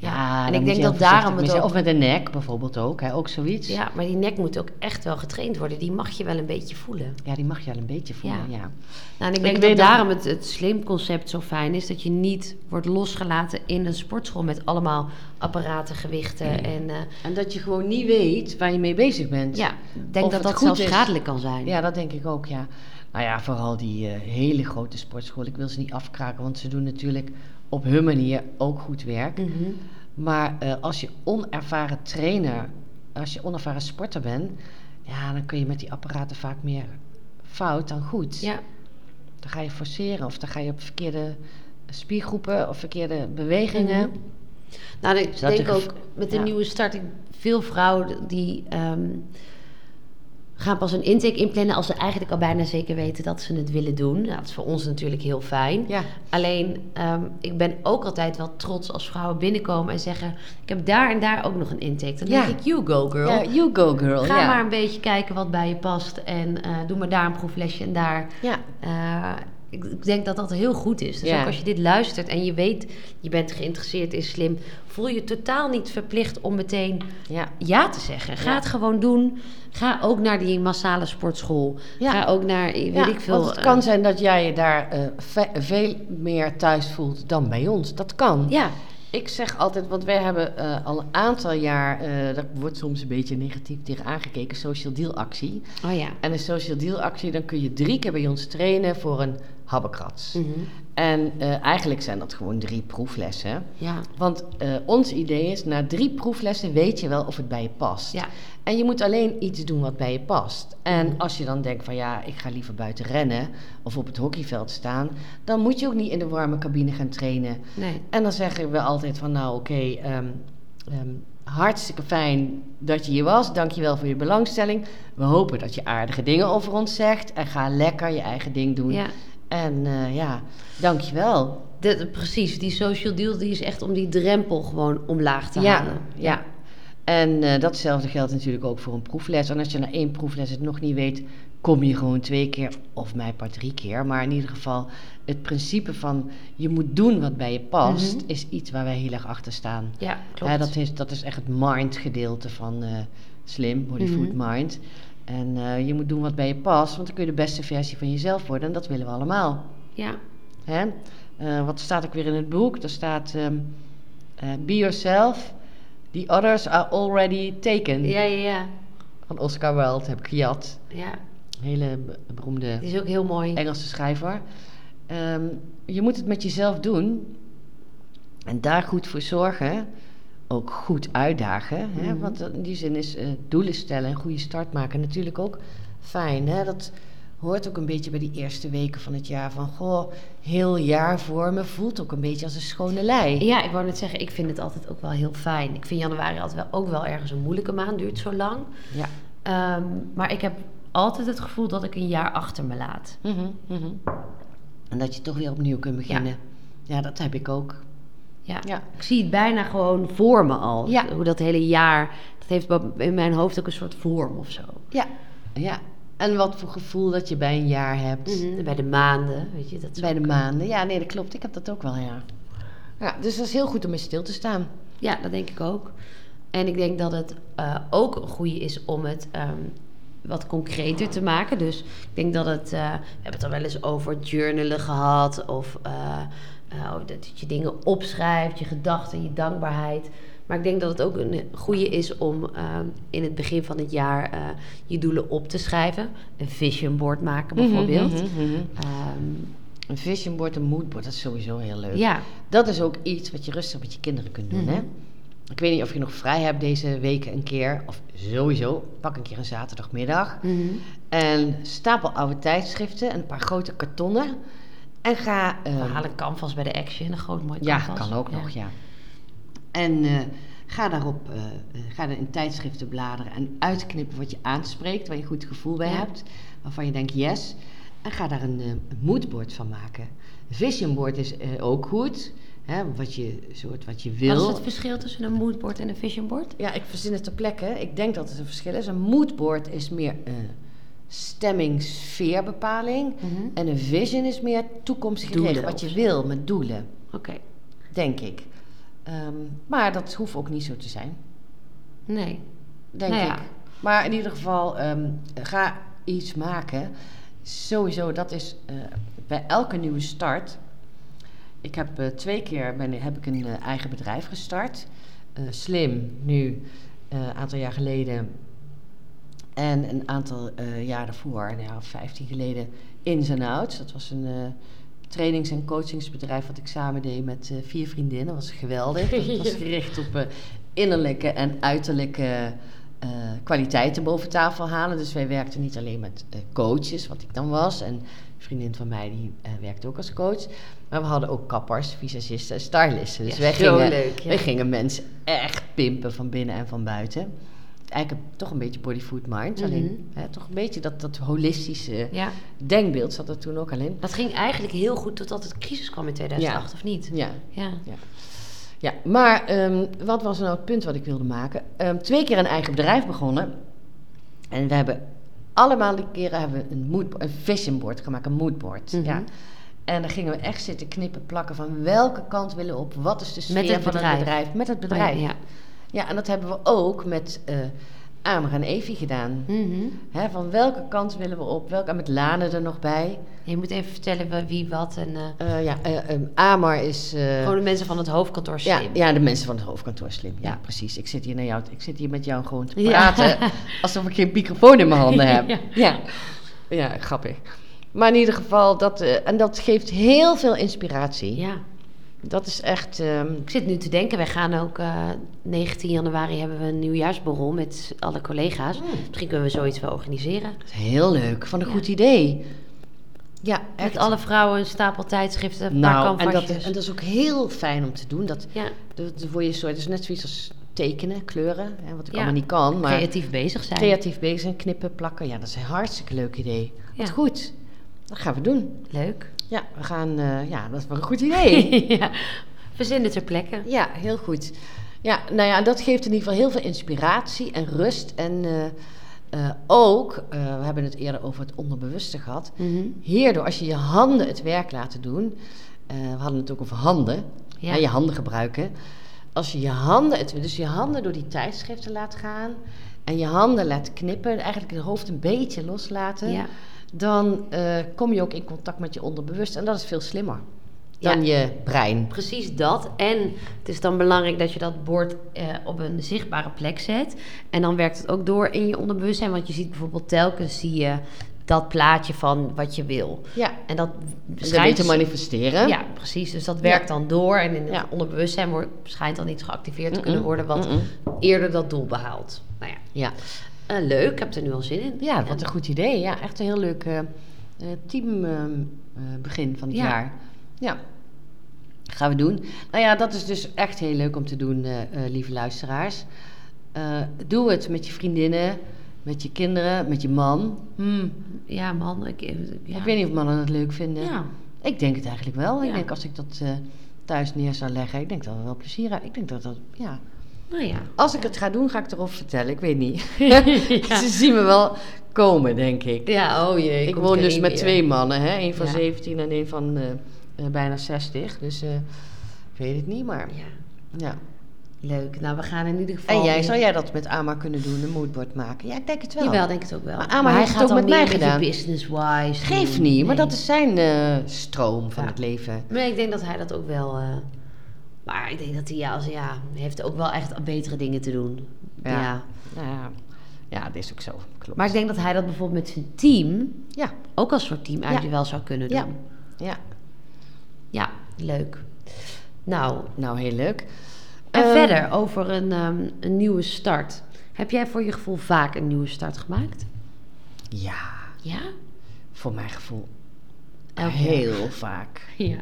S3: Ja,
S2: En ik
S3: dan moet
S2: denk
S3: je heel
S2: dat daarom
S3: voorzichtig
S2: het
S3: mee zijn.
S2: ook-
S3: Of met de nek bijvoorbeeld ook, hè, ook zoiets. Ja.
S2: Ja, maar die nek moet ook echt wel getraind worden. Die mag je wel een beetje voelen.
S3: die mag je wel een beetje voelen, ja.
S2: Ja. Nou, en ik
S3: Ik
S2: denk
S3: weet
S2: dat
S3: dat-
S2: daarom het, het slimconcept zo fijn is. Dat je niet wordt losgelaten in een sportschool met allemaal apparaten, gewichten. En eh,
S3: En dat je gewoon niet weet waar je mee bezig bent.
S2: ja, ik denk
S3: Of
S2: dat
S3: het
S2: dat
S3: goed
S2: zelfs
S3: is.
S2: schadelijk kan zijn.
S3: Ja, dat denk ik ook, ja. Nou ja, vooral die eh, hele grote sportschool. Ik wil ze niet afkraken, want ze doen natuurlijk op hun manier ook goed werk.
S2: Mhm.
S3: Maar eh, als je onervaren trainer, als je onervaren sporter bent, ja, dan kun je met die apparaten vaak meer fout dan goed.
S2: ja.
S3: Dan ga je forceren of dan ga je op verkeerde spiergroepen of verkeerde bewegingen.
S2: Mhm. Nou, ik
S3: Zodat
S2: denk
S3: je gev-
S2: ook met de
S3: ja.
S2: nieuwe start, ik- veel vrouwen die ehm, gaan pas een intake inplannen als ze eigenlijk al bijna zeker weten dat ze het willen doen. Nou, dat is voor ons natuurlijk heel fijn.
S3: Ja.
S2: Alleen, ehm, ik ben ook altijd wel trots als vrouwen binnenkomen en zeggen: Ik heb daar en daar ook nog een intake. Dan
S3: Ja.
S2: denk ik: You go, girl.
S3: Ja, you go girl.
S2: Ga
S3: ja.
S2: maar een beetje kijken wat bij je past en eh, doe maar daar een proeflesje en daar.
S3: Ja.
S2: Eh, ik, ik denk dat dat heel goed is. Dus
S3: Ja.
S2: ook als je dit luistert en je weet, je bent geïnteresseerd in slim, voel je totaal niet verplicht om meteen
S3: Ja.
S2: ja te zeggen. Ga
S3: Ja.
S2: het gewoon doen. Ga ook naar die massale sportschool.
S3: Ja.
S2: Ga ook naar, eh, weet
S3: Ja,
S2: ik veel.
S3: want het
S2: eh,
S3: kan zijn dat jij je daar eh, ve- veel meer thuis voelt dan bij ons. Dat kan.
S2: ja,
S3: Ik zeg altijd, want wij hebben eh, al een aantal jaar, eh daar wordt soms een beetje negatief tegen aangekeken, social deal actie.
S2: oh ja.
S3: En een social deal actie, dan kun je drie keer bij ons trainen voor een habbekrats.
S2: Mhm.
S3: En eh, eigenlijk zijn dat gewoon drie proeflessen.
S2: Ja,
S3: Want eh, ons idee is, na drie proeflessen weet je wel of het bij je past.
S2: ja.
S3: En je moet alleen iets doen wat bij je past. En als je dan denkt van ja, ik ga liever buiten rennen of op het hockeyveld staan, dan moet je ook niet in de warme cabine gaan trainen.
S2: Nee.
S3: En dan zeggen we altijd van nou oké, ehm, ehm, hartstikke fijn dat je hier was. Dankjewel voor je belangstelling. We hopen dat je aardige dingen over ons zegt. En ga lekker je eigen ding doen.
S2: Ja.
S3: En eh ja, dankjewel.
S2: De- precies, die social deal die is echt om die drempel gewoon omlaag te
S3: ja,
S2: halen.
S3: ja. En eh, datzelfde geldt natuurlijk ook voor een proefles. En als je na één proefles het nog niet weet, kom je gewoon twee keer, of mij part drie keer. Maar in ieder geval, het principe van je moet doen wat bij je past,
S2: Mhm.
S3: is iets waar wij heel erg achter staan.
S2: Ja, klopt.
S3: Hè, dat, is, dat is echt het mind-gedeelte van eh, Slim, Body Food
S2: Mhm.
S3: Mind. En eh, je moet doen wat bij je past, want dan kun je de beste versie van jezelf worden. En dat willen we allemaal.
S2: ja.
S3: Hè? Eh, wat staat ook weer in het boek? Daar staat: ehm, eh, Be yourself, the others are already taken.
S2: Ja, ja, ja.
S3: Van Oscar Wilde heb ik gejat.
S2: ja.
S3: Een hele be- beroemde
S2: Die is ook heel mooi.
S3: Engelse schrijver. ehm, je moet het met jezelf doen. En daar goed voor zorgen. Ook goed uitdagen. Hè?
S2: Mhm.
S3: Want in die zin is eh, doelen stellen en goede start maken natuurlijk ook fijn. Hè? Dat hoort ook een beetje bij die eerste weken van het jaar. Van goh, heel jaar voor me voelt ook een beetje als een schone lei.
S2: Ja, ik wou net zeggen, ik vind het altijd ook wel heel fijn. Ik vind januari altijd wel, ook wel ergens een moeilijke maand, duurt zo lang.
S3: Ja.
S2: Ehm, maar ik heb altijd het gevoel dat ik een jaar achter me laat.
S3: Mhm, mhm. En dat je toch weer opnieuw kunt beginnen. Ja, dat heb ik ook.
S2: Ja.
S3: Ja.
S2: Ik zie het bijna gewoon voor me al.
S3: Ja.
S2: Hoe dat hele jaar, dat heeft wel in mijn hoofd ook een soort vorm of zo.
S3: Ja. ja. En wat voor gevoel dat je bij een jaar hebt.
S2: Bij de maanden, weet je, Mhm. dat is
S3: Bij de
S2: ook-
S3: maanden. Ja, nee, dat klopt. Ik heb dat ook wel, ja. Ja, dus dat is heel goed om eens stil te staan.
S2: Ja, dat denk ik ook. En ik denk dat het eh, ook een goede is om het ehm, wat concreter te maken. Dus ik denk dat het. eh, we hebben het al wel eens over journalen gehad. Of eh, eh, dat- dat je dingen opschrijft, je gedachten, je dankbaarheid. Maar ik denk dat het ook een goede is om ehm, in het begin van het jaar eh, je doelen op te schrijven. Een vision board maken
S3: Mhm,
S2: bijvoorbeeld. Ehm,
S3: Een vision board, een mood board, dat is sowieso heel leuk.
S2: ja,
S3: Dat is ook iets wat je rustig met je kinderen kunt doen, hè?
S2: Mhm.
S3: Ik weet niet of je nog vrij hebt deze weken een keer. Of sowieso, pak een keer een zaterdagmiddag.
S2: Mhm.
S3: En stapel oude tijdschriften en een paar grote kartonnen. En ga... ehm,
S2: we halen canvas bij de action, een groot mooi
S3: Ja,
S2: canvas.
S3: kan ook
S2: Ja.
S3: nog, ja. En eh, ga daarop, eh, eh, ga er in tijdschriften bladeren en uitknippen wat je aanspreekt, waar je een goed gevoel bij
S2: Ja.
S3: hebt, waarvan je denkt yes. En ga daar een, eh, een moodboard van maken. Een vision board is eh, ook goed, hè, wat je soort wat je wil.
S2: Wat is het verschil tussen een moodboard en een visionboard?
S3: Ja, ik verzin het ter plekke. Ik denk dat het een verschil is. Een moodboard is meer eh stemming, sfeerbepaling.
S2: Mhm.
S3: En een vision is meer toekomstgericht,
S2: Doelen
S3: wat
S2: of
S3: je
S2: zo.
S3: wil met doelen.
S2: Oké.
S3: Denk ik. Ehm, maar dat hoeft ook niet zo te zijn,
S2: Nee.
S3: denk
S2: Nou ja.
S3: ik. Maar in ieder geval, ehm, ga iets maken. Sowieso, dat is eh, bij elke nieuwe start. Ik heb eh, twee keer ben, heb ik een eh, eigen bedrijf gestart. Eh, slim, nu, eh, een aantal jaar geleden. En een aantal eh, jaar daarvoor, een jaar of 15 geleden, Ins and Outs. Dat was een eh, trainings- en coachingsbedrijf wat ik samen deed met eh, vier vriendinnen. Dat was geweldig. Dat was gericht op eh, innerlijke en uiterlijke eh, kwaliteiten boven tafel halen. Dus wij werkten niet alleen met eh, coaches, wat ik dan was. En een vriendin van mij die eh, werkte ook als coach. Maar we hadden ook kappers, visagisten en stylisten. Dus
S2: Ja,
S3: wij
S2: zo
S3: gingen,
S2: leuk, ja.
S3: wij gingen mensen echt pimpen van binnen en van buiten. Eigenlijk een- toch een beetje body, food, mind. Alleen hè, toch een beetje dat, dat holistische
S2: Mhm. Ja.
S3: denkbeeld zat er toen ook al in.
S2: Dat ging eigenlijk heel goed totdat het crisis kwam in 2008, of niet?
S3: Ja,
S2: Ja.
S3: ja. maar ehm, wat was nou het punt wat ik wilde maken? Ehm, twee keer een eigen bedrijf begonnen. En we hebben allemaal die keren hebben we een, moodbo- een vision board gemaakt, een moodboard.
S2: Mhm.
S3: ja. En dan gingen we echt zitten knippen, plakken van welke kant willen we op, wat is de sfeer
S2: het
S3: van
S2: bedrijf. Oh
S3: het bedrijf, met het bedrijf.
S2: Ja.
S3: Ja, en dat hebben we ook met eh Amer en Evi gedaan.
S2: Mhm.
S3: Hè, van welke kant willen we op? Welke, en met Lane er nog bij.
S2: Je moet even vertellen wa- wie wat en... eh,
S3: Eh, ja, eh, ehm, Amar is... eh,
S2: gewoon de mensen van het hoofdkantoor
S3: ja,
S2: slim.
S3: ja, de mensen van het hoofdkantoor slim. Ja,
S2: Ja.
S3: precies. Ik zit, hier naar jou, ik zit hier met jou gewoon te
S2: Ja.
S3: praten. Alsof ik geen microfoon in mijn handen heb.
S2: Ja.
S3: Ja. Ja. grappig. Maar in ieder geval, dat, eh, en dat geeft heel veel inspiratie.
S2: Ja.
S3: Dat is echt... ehm,
S2: Ik zit nu te denken, wij gaan ook eh, 19 januari hebben we een nieuwjaarsborrel met alle collega's.
S3: Mm.
S2: Misschien kunnen we zoiets wel organiseren.
S3: heel leuk. Van een
S2: Ja.
S3: goed idee. Ja, echt.
S2: Met alle vrouwen een stapel tijdschriften, een paar
S3: nou, en dat,
S2: canvasjes.
S3: en dat is ook heel fijn om te doen. Dat,
S2: Ja,
S3: dat word je soort, dat is net zoiets als tekenen, kleuren, hè, wat ik
S2: Ja.
S3: allemaal niet kan. Maar
S2: creatief bezig zijn.
S3: creatief bezig zijn, knippen, plakken. Ja, dat is een hartstikke leuk idee.
S2: Ja.
S3: Wat goed. Dat gaan we doen.
S2: Leuk.
S3: Ja, we gaan, eh, ja, dat is wel een goed idee.
S2: ja. Verzinnen ter plekke.
S3: ja, heel goed. Ja, nou ja, dat geeft in ieder geval heel veel inspiratie en rust. En eh, eh, ook, eh, we hebben het eerder over het onderbewuste gehad.
S2: Mhm.
S3: Hierdoor, als je je handen het werk laat doen, eh, we hadden het ook over handen,
S2: Ja.
S3: hè, je handen gebruiken. Als je je handen, het, dus je handen door die tijdschriften laat gaan en je handen laat knippen, eigenlijk het hoofd een beetje loslaten,
S2: Ja.
S3: dan eh, kom je ook in contact met je onderbewust en dat is veel slimmer dan je brein.
S2: Precies dat. En het is dan belangrijk dat je dat bord eh, op een zichtbare plek zet. En dan werkt het ook door in je onderbewustzijn. Want je ziet bijvoorbeeld telkens zie je dat plaatje van wat je wil.
S3: Ja.
S2: En dat
S3: Schijn te
S2: schijnt...
S3: manifesteren.
S2: Ja, precies. Dus dat werkt dan door. En in het
S3: Ja.
S2: onderbewustzijn wordt, schijnt dan iets geactiveerd te kunnen
S3: Mm-mm.
S2: worden... wat
S3: Mm-mm.
S2: eerder dat doel behaalt. Nou ja,
S3: Ja.
S2: Eh, leuk. Ik heb er nu al zin in.
S3: Ja,
S2: En-
S3: wat een goed idee. Ja, echt een heel leuk eh, eh, team eh, eh, begin van het
S2: Ja.
S3: jaar. Ja. Gaan we doen. Nou ja, dat is dus echt heel leuk om te doen, eh, eh, lieve luisteraars. Eh, doe het met je vriendinnen, met je kinderen, met je man. Hmm,
S2: Ja, man. Ik, ja.
S3: Ik weet niet of mannen het leuk vinden.
S2: Ja.
S3: Ik denk het eigenlijk wel. Ik
S2: Ja.
S3: denk als ik dat eh, thuis neer zou leggen, ik denk dat we wel plezier hebben. Ik denk dat dat, ja.
S2: Nou ja.
S3: Als ik het ga doen, ga ik het erover vertellen. Ik weet niet.
S2: Ja.
S3: Ze zien me wel komen, denk ik.
S2: Ja, oh jee.
S3: Ik
S2: komt
S3: woon dus
S2: Karin
S3: met
S2: weer.
S3: twee mannen, hè? Eén van
S2: Ja.
S3: 17 en één van eh, eh, bijna 60. Dus eh, ik weet het niet, maar
S2: Ja,
S3: ja.
S2: leuk. Nou, we gaan in ieder geval...
S3: En jij,
S2: weer-
S3: zou jij dat met AMA kunnen doen, een moodboard maken? Ja, ik denk het wel.
S2: Jawel, denk het ook wel.
S3: Maar Ama heeft het ook met mij gedaan.
S2: business-wise.
S3: Geef
S2: doen.
S3: niet, maar
S2: Nee.
S3: dat is zijn eh, stroom van
S2: Ja.
S3: het leven.
S2: Nee, ik denk dat hij dat ook wel... eh, maar ik denk dat hij ja, als, ja, hij heeft ook wel echt betere dingen te doen.
S3: Ja.
S2: Ja.
S3: Nou Ja, ja dat is ook zo. Klopt.
S2: Maar ik denk dat hij dat bijvoorbeeld met zijn team...
S3: ja,
S2: ook als soort teamuitje
S3: Ja.
S2: wel zou kunnen doen.
S3: ja,
S2: Ja,
S3: ja.
S2: leuk. Nou,
S3: Nou, heel leuk.
S2: en
S3: Ehm,
S2: verder over een, ehm, een nieuwe start. Heb jij voor je gevoel vaak een nieuwe start gemaakt?
S3: Ja,
S2: Ja?
S3: voor mijn gevoel
S2: Elk jaar.
S3: heel vaak.
S2: Ja.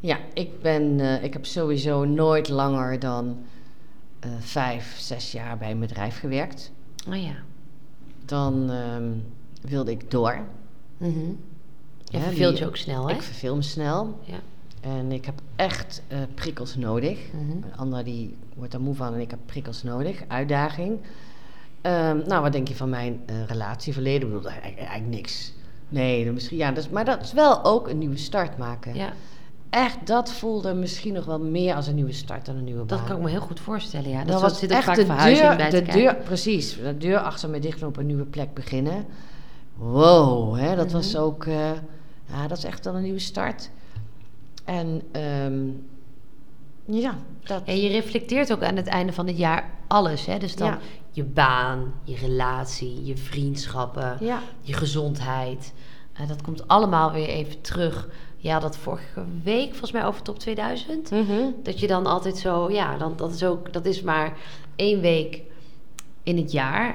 S3: Ja, ik, ben, eh, ik heb sowieso nooit langer dan eh, vijf, zes jaar bij een bedrijf gewerkt.
S2: Oh ja.
S3: Dan ehm, wilde ik door.
S2: Mhm. Je
S3: Ja,
S2: verveelt
S3: die-
S2: je ook snel, hè?
S3: Ik verveel me snel.
S2: Ja.
S3: En ik heb echt eh, prikkels nodig.
S2: Mhm.
S3: Een ander die wordt daar moe van en ik heb prikkels nodig. Uitdaging. Ehm, nou, wat denk je van mijn eh, relatieverleden? Ik bedoel, eigenlijk, eigenlijk niks. Nee, dan misschien, ja, dat is, maar dat is wel ook een nieuwe start maken.
S2: ja,
S3: Echt, dat voelde misschien nog wel meer als een nieuwe start dan een nieuwe baan.
S2: dat kan ik me heel goed voorstellen, ja. Dat,
S3: Dat
S2: soort-
S3: was
S2: zit ook
S3: echt
S2: vaak
S3: de
S2: verhuizing
S3: deur,
S2: bij
S3: de
S2: te kijken.
S3: deur, precies, de deur achter me dicht en op een nieuwe plek beginnen. Wow, hè, dat
S2: Mhm.
S3: was ook, eh, ja, dat is echt wel een nieuwe start. En ehm, ja, dat,
S2: Ja, je reflecteert ook aan het einde van het jaar alles, hè? Dus dan
S3: Ja.
S2: je baan, je relatie, je vriendschappen,
S3: ja,
S2: je gezondheid. Eh, dat komt allemaal weer even terug. Ja, dat vorige week volgens mij over top 2000.
S3: mhm,
S2: Dat je dan altijd zo, ja, dan, dat, is ook, dat is maar één week in het jaar.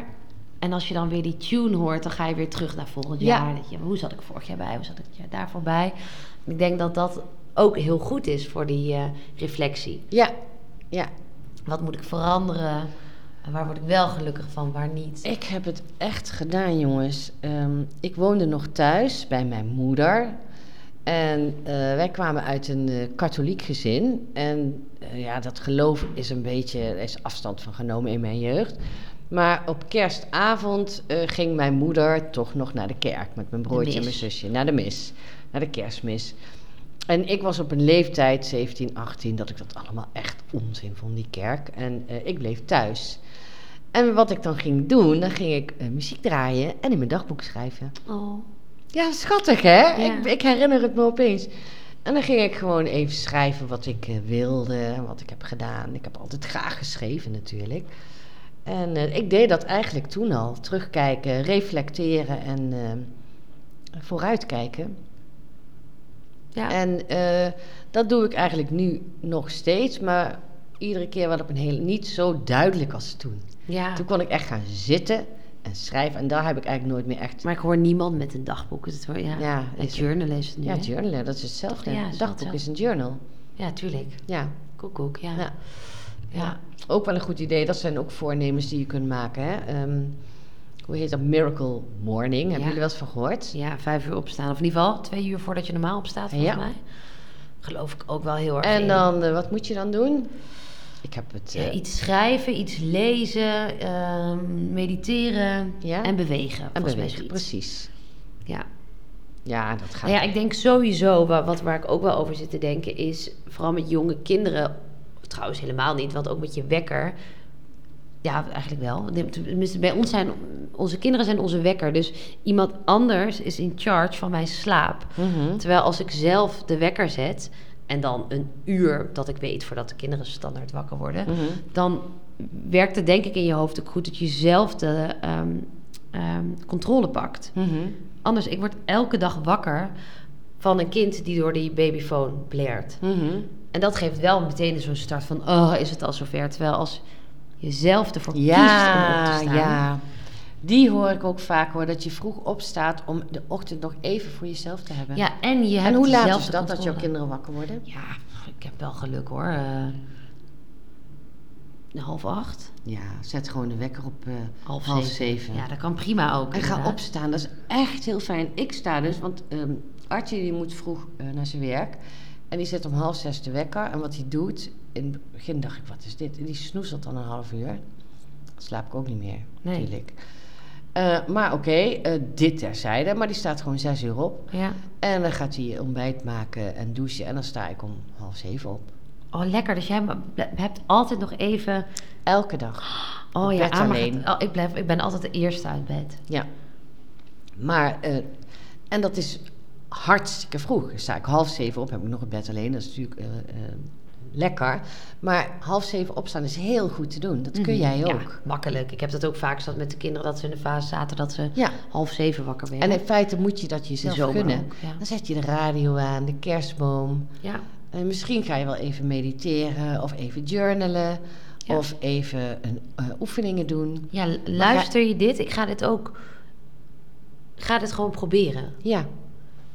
S2: En als je dan weer die tune hoort, dan ga je weer terug naar volgend
S3: Ja.
S2: jaar. Dat je, hoe zat ik vorig jaar bij? Hoe zat ik het jaar daarvoor bij? Ik denk dat dat ook heel goed is voor die eh, reflectie.
S3: ja, ja.
S2: Wat moet ik veranderen? En waar word ik wel gelukkig van, waar niet?
S3: Ik heb het echt gedaan, jongens. Ehm, ik woonde nog thuis bij mijn moeder. En eh, wij kwamen uit een eh, katholiek gezin. En eh, ja, dat geloof is een beetje er is afstand van genomen in mijn jeugd. Maar op kerstavond eh, ging mijn moeder toch nog naar de kerk met mijn broertje en mijn
S2: mis.
S3: zusje. Naar de mis, naar de kerstmis. En ik was op een leeftijd, 17, 18, dat ik dat allemaal echt onzin vond, die kerk. En eh, ik bleef thuis. En wat ik dan ging doen, dan ging ik eh, muziek draaien en in mijn dagboek schrijven.
S2: Oh,
S3: Ja, schattig hè?
S2: Ja.
S3: Ik, ik herinner het me opeens. En dan ging ik gewoon even schrijven wat ik eh, wilde, wat ik heb gedaan. Ik heb altijd graag geschreven natuurlijk. En eh, ik deed dat eigenlijk toen al. Terugkijken, reflecteren en eh, vooruitkijken.
S2: ja.
S3: En eh, dat doe ik eigenlijk nu nog steeds, maar iedere keer wel op een hele... Niet zo duidelijk als toen.
S2: ja.
S3: Toen kon ik echt gaan zitten en schrijven. En daar heb ik eigenlijk nooit meer echt...
S2: Maar ik hoor niemand met een dagboek. Is het wel, ja.
S3: Ja,
S2: een
S3: is-
S2: journal is het nu,
S3: Ja,
S2: hè?
S3: journalen, dat is hetzelfde.
S2: Toch, ja, is
S3: Een dagboek
S2: hetzelfde.
S3: is een journal.
S2: Ja, tuurlijk.
S3: Ja.
S2: Koekoek, ja.
S3: Ja.
S2: Ja.
S3: ja, ook wel een goed idee. Dat zijn ook voornemens die je kunt maken. Hè? Ehm, hoe heet dat? Miracle Morning. Hebben
S2: Ja.
S3: jullie wel eens van gehoord?
S2: Ja, vijf uur opstaan. Of in ieder geval twee uur voordat je normaal opstaat, volgens
S3: Ja.
S2: mij. Geloof ik ook wel heel erg
S3: En
S2: in.
S3: dan, eh, wat moet je dan doen? Ik heb het...
S2: Ja,
S3: eh,
S2: iets schrijven, iets lezen, ehm, mediteren
S3: Ja.
S2: en bewegen.
S3: en
S2: volgens mij
S3: bewegen,
S2: zoiets.
S3: precies.
S2: Ja.
S3: Ja, dat gaat...
S2: Nou ja, ik denk sowieso, wa- wat waar ik ook wel over zit te denken, is vooral met jonge kinderen, trouwens helemaal niet, want ook met je wekker. Ja, eigenlijk wel. Tenminste, bij ons zijn onze kinderen zijn onze wekker. Dus iemand anders is in charge van mijn slaap.
S3: Mhm.
S2: Terwijl als ik zelf de wekker zet en dan een uur dat ik weet voordat de kinderen standaard wakker worden,
S3: Mhm.
S2: dan werkt het denk ik in je hoofd ook goed dat je zelf de ehm, ehm, controle pakt.
S3: Mhm.
S2: anders. Ik word elke dag wakker van een kind die door die babyfoon blaert.
S3: Mhm.
S2: En dat geeft wel meteen zo'n start van, oh, is het al zover? Terwijl als je zelf ervoor kiest om op
S3: Ja,
S2: te staan.
S3: ja. Die hoor ik ook vaak hoor, dat je vroeg opstaat om de ochtend nog even voor jezelf te hebben.
S2: Ja, en je hebt
S3: en hoe laat
S2: zelf
S3: is
S2: de
S3: dat, dat jouw
S2: controle.
S3: kinderen wakker worden?
S2: Ja, ik heb wel geluk hoor. Eh half acht,
S3: Ja, zet gewoon de wekker op eh,
S2: half,
S3: half
S2: zeven.
S3: zeven.
S2: Ja, dat kan prima ook.
S3: En ga
S2: inderdaad.
S3: opstaan, dat is echt heel fijn. Ik sta dus, want ehm Artje die moet vroeg eh, naar zijn werk. En die zet om half zes de wekker. En wat hij doet, in het begin dacht ik, wat is dit? En die snoezelt dan een half uur. Dan slaap ik ook niet meer,
S2: Nee.
S3: natuurlijk. Eh, maar oké, eh, dit terzijde. Maar die staat gewoon zes uur op.
S2: Ja.
S3: En dan gaat hij ontbijt maken en douchen. En dan sta ik om half zeven op.
S2: Oh, lekker. Dus jij b- hebt altijd nog even...
S3: Elke dag.
S2: Oh
S3: Op
S2: ja,
S3: bed
S2: Ama
S3: alleen.
S2: gaat- oh, ik, blijf, ik ben altijd de eerste uit bed.
S3: Ja. Maar, eh, en dat is hartstikke vroeg. Dan sta ik half zeven op, heb ik nog het bed alleen. Dat is natuurlijk eh, eh, lekker. Maar half zeven opstaan is heel goed te doen. Dat kun jij
S2: Mhm. Ja,
S3: ook.
S2: makkelijk. Ik heb dat ook vaak zat met de kinderen dat ze in de fase zaten dat ze
S3: Ja.
S2: half zeven wakker werden.
S3: En in feite moet je dat jezelf
S2: zomer
S3: gunnen.
S2: ook, ja.
S3: Dan zet je de radio aan, de kerstboom.
S2: ja.
S3: En misschien ga je wel even mediteren of even journalen.
S2: Ja.
S3: Of even een, eh, oefeningen doen.
S2: ja, lu- luister je dit? Ik ga dit ook... Ga dit gewoon proberen.
S3: Ja,